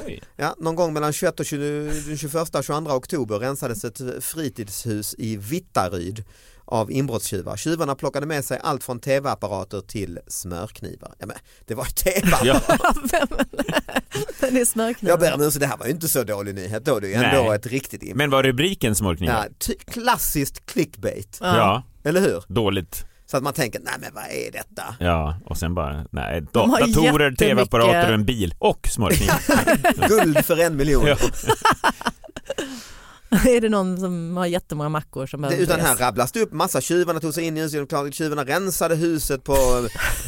Speaker 5: Oj.
Speaker 3: Ja, någon gång mellan 21 och 20, den 21 och 22 oktober rensades ett fritidshus i Vittaryd av inbrottstjuvar. Tjuvarna plockade med sig allt från tv-apparater till smörknivar. Ja, men, det var ju tv
Speaker 5: Ja.
Speaker 4: Den är smörkniv.
Speaker 3: Jag ber om ursäkt, det här var ju inte så dålig nyhet då. Det är ju ändå
Speaker 5: Nej.
Speaker 3: ett riktigt inbrott.
Speaker 5: Men var rubriken smörknivar?
Speaker 3: Ja, ty- klassiskt clickbait,
Speaker 5: Ja.
Speaker 3: eller hur?
Speaker 5: dåligt.
Speaker 3: Så att man tänker, nej men vad är detta?
Speaker 5: Ja, och sen bara, nej, da-
Speaker 4: De har
Speaker 5: datorer,
Speaker 4: jättemycket-
Speaker 5: tv-apparater och en bil och smörknivar.
Speaker 3: Guld för en miljon.
Speaker 5: Ja.
Speaker 4: är det någon som har jättemånga mackor som
Speaker 3: Det,
Speaker 4: behöver
Speaker 3: utan
Speaker 4: dress?
Speaker 3: här rabblas det upp massa, tjuvarna tog sig in i huset, de klarade- tjuvarna rensade huset på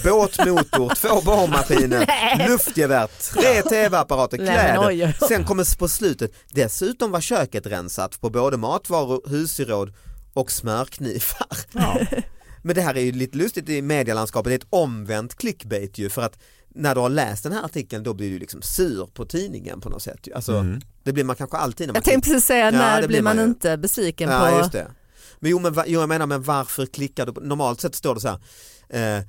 Speaker 3: båtmotor, två borrmaskiner, luftgevär, tre tv-apparater,
Speaker 4: Nej, men
Speaker 3: kläder.
Speaker 4: oj, oj, oj.
Speaker 3: Sen kommer på slutet, dessutom var köket rensat på både matvaror, husgeråd och smörknivar.
Speaker 5: Ja.
Speaker 3: Men det här är ju lite lustigt i medielandskapet, det är ett omvänt clickbait ju för att när du har läst den här artikeln då blir du liksom sur på tidningen på något sätt. ju. Alltså, Det blir man kanske alltid när man
Speaker 4: Jag tänkte precis säga,
Speaker 3: Ja,
Speaker 4: när
Speaker 3: det
Speaker 4: blir
Speaker 3: blir
Speaker 4: man,
Speaker 3: man ju.
Speaker 4: inte besviken
Speaker 3: Ja,
Speaker 4: på...
Speaker 3: just det. Men jo, men va, jo, jag menar, men varför klickar du? på- Normalt sett står det så här. Eh,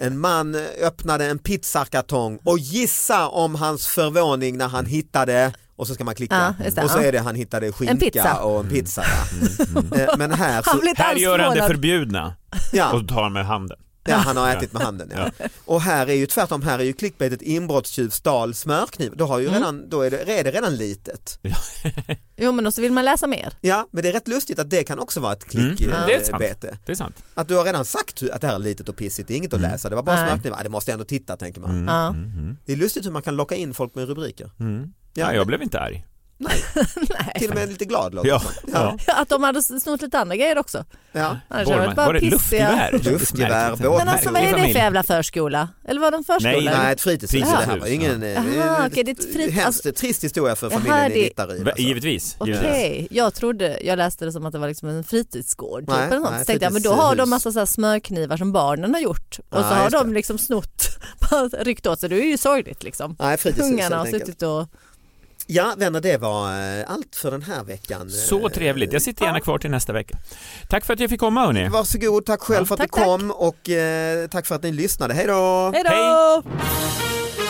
Speaker 3: en man öppnade en pizzakartong och gissa om hans förvåning när han hittade och så ska man klicka
Speaker 4: Ja, just det,
Speaker 3: och så
Speaker 4: ja.
Speaker 3: är det han hittade skinka
Speaker 4: pizza.
Speaker 3: och en pizza.
Speaker 5: Mm,
Speaker 3: Ja. Eh, Men här,
Speaker 4: Han
Speaker 3: så,
Speaker 4: blir inte
Speaker 5: Här
Speaker 4: alls
Speaker 5: gör han det
Speaker 4: förvånad.
Speaker 5: förbjudna
Speaker 3: ja,
Speaker 5: och tar med handen.
Speaker 3: ja, han har ätit med handen. Ja. Och här är ju tvärtom, här är ju clickbaitet inbrottstjuv stal smörkniv. Då, har ju
Speaker 4: Mm.
Speaker 3: redan, då är, det, är det redan litet.
Speaker 4: Jo men och så vill man läsa mer.
Speaker 3: Ja, men det är rätt lustigt att det kan också vara ett
Speaker 5: Mm. Det är sant.
Speaker 3: klickbete.
Speaker 5: Det är sant.
Speaker 3: Att du har redan sagt hur- att det här är litet och pissigt, det är inget att läsa, det var bara
Speaker 4: Mm. Nej. Mm.
Speaker 3: smörknivar. Ja, Det måste jag ändå titta tänker man.
Speaker 4: Ja.
Speaker 3: Det är lustigt hur man kan locka in folk med rubriker.
Speaker 5: Mm.
Speaker 3: Ja,
Speaker 5: Ja, Mm-hmm. jag blev inte arg.
Speaker 3: Till och med lite glad låter
Speaker 5: Ja.
Speaker 3: det som.
Speaker 5: Ja.
Speaker 4: Att de hade snott lite andra grejer också.
Speaker 3: ja.
Speaker 4: Annars hade det
Speaker 5: Borrma-
Speaker 4: varit bara
Speaker 5: Var det
Speaker 4: pissiga.
Speaker 5: luftgevär? liksom.
Speaker 3: Luftgevär,
Speaker 5: Märkligt.
Speaker 3: båt-
Speaker 4: Men alltså vad är det för jävla förskola? Eller var de förskola?
Speaker 5: Nej,
Speaker 3: Nej, ett fritidshus.
Speaker 5: Fritidshus,
Speaker 3: Det här var ju ingen, eh,
Speaker 4: Aha, okej, det är ett fritid-
Speaker 3: hemskt
Speaker 4: alltså-
Speaker 3: trist historia för
Speaker 4: Jaha,
Speaker 3: familjen
Speaker 4: det-
Speaker 3: i Vittaryd.
Speaker 5: Va-
Speaker 3: alltså.
Speaker 5: Givetvis.
Speaker 4: Okej,
Speaker 5: givetvis.
Speaker 4: jag trodde, jag läste det som att det var liksom en fritidsgård typ
Speaker 3: Nej,
Speaker 4: eller något.
Speaker 3: nej,
Speaker 4: så tänkte jag, men då har de
Speaker 3: fritidshus.
Speaker 4: massa så här smörknivar som barnen har gjort och så
Speaker 3: Ja,
Speaker 4: har
Speaker 3: just
Speaker 4: de
Speaker 3: det.
Speaker 4: liksom snott, bara ryckt åt sig, det är ju sorgligt liksom.
Speaker 3: Nej, fritidshus
Speaker 4: Ungarna har
Speaker 3: helt enkelt.
Speaker 4: suttit och,
Speaker 3: Ja, vänner, det var eh, allt för den här veckan.
Speaker 5: Så
Speaker 3: Eh,
Speaker 5: trevligt. Jag sitter gärna kvar till nästa vecka. Tack för att jag fick komma hörni.
Speaker 3: Varsågod, tack själv för att
Speaker 4: Tack,
Speaker 3: du kom och eh, tack för att ni lyssnade. Hej då!
Speaker 4: hej då!
Speaker 5: Hej!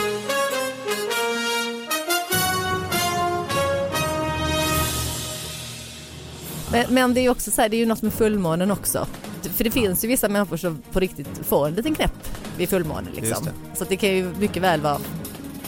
Speaker 4: Men, men det är ju också så här, det är ju något med fullmånen också. För det finns ju vissa människor som på riktigt får en liten knäpp vid fullmånen liksom.
Speaker 3: Just
Speaker 4: Så att det kan ju mycket väl vara,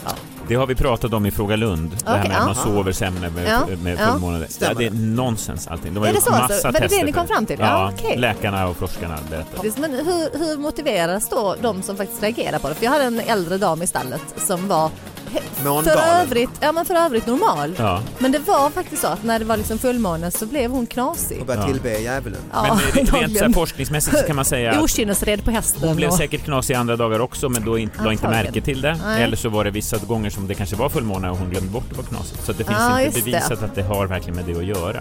Speaker 4: ja,
Speaker 5: Det har vi pratat om i Fråga Lund, det här
Speaker 4: Okej,
Speaker 5: med att man
Speaker 4: aha.
Speaker 5: sover sämre med,
Speaker 4: Ja,
Speaker 5: med
Speaker 4: ja.
Speaker 5: fullmåne. Ja, det är nonsens allting. De har
Speaker 4: Är det
Speaker 5: gjort
Speaker 4: så alltså?
Speaker 5: massa
Speaker 4: Var det det
Speaker 5: tester.
Speaker 4: ni kom fram till? Ja,
Speaker 5: Ja,
Speaker 4: okej.
Speaker 5: läkarna och forskarna berättar.
Speaker 4: Faktiskt, Men hur, hur motiveras då de som faktiskt reagerar på det? För jag hade en äldre dam i stallet som var he-
Speaker 3: Mångalen.
Speaker 4: för övrigt, ja, men för övrigt normal.
Speaker 5: Ja.
Speaker 4: Men det var faktiskt så att när det var liksom fullmåne så blev hon knasig.
Speaker 3: Och börjar tillbe djävulen.
Speaker 4: Ja,
Speaker 5: Men rent så här
Speaker 4: dagligen.
Speaker 5: forskningsmässigt så kan man säga att
Speaker 4: Okynnesred på hästen.
Speaker 5: Hon blev
Speaker 4: och-
Speaker 5: säkert knasig andra dagar också men då inte, la inte
Speaker 4: Antagligen.
Speaker 5: märke till det.
Speaker 4: Nej.
Speaker 5: Eller så var det vissa gånger som det kanske var fullmåne och hon glömde bort att vara knasig. Så att det finns
Speaker 4: Ja,
Speaker 5: inte
Speaker 4: just det.
Speaker 5: bevisat att det har verkligen med det att göra.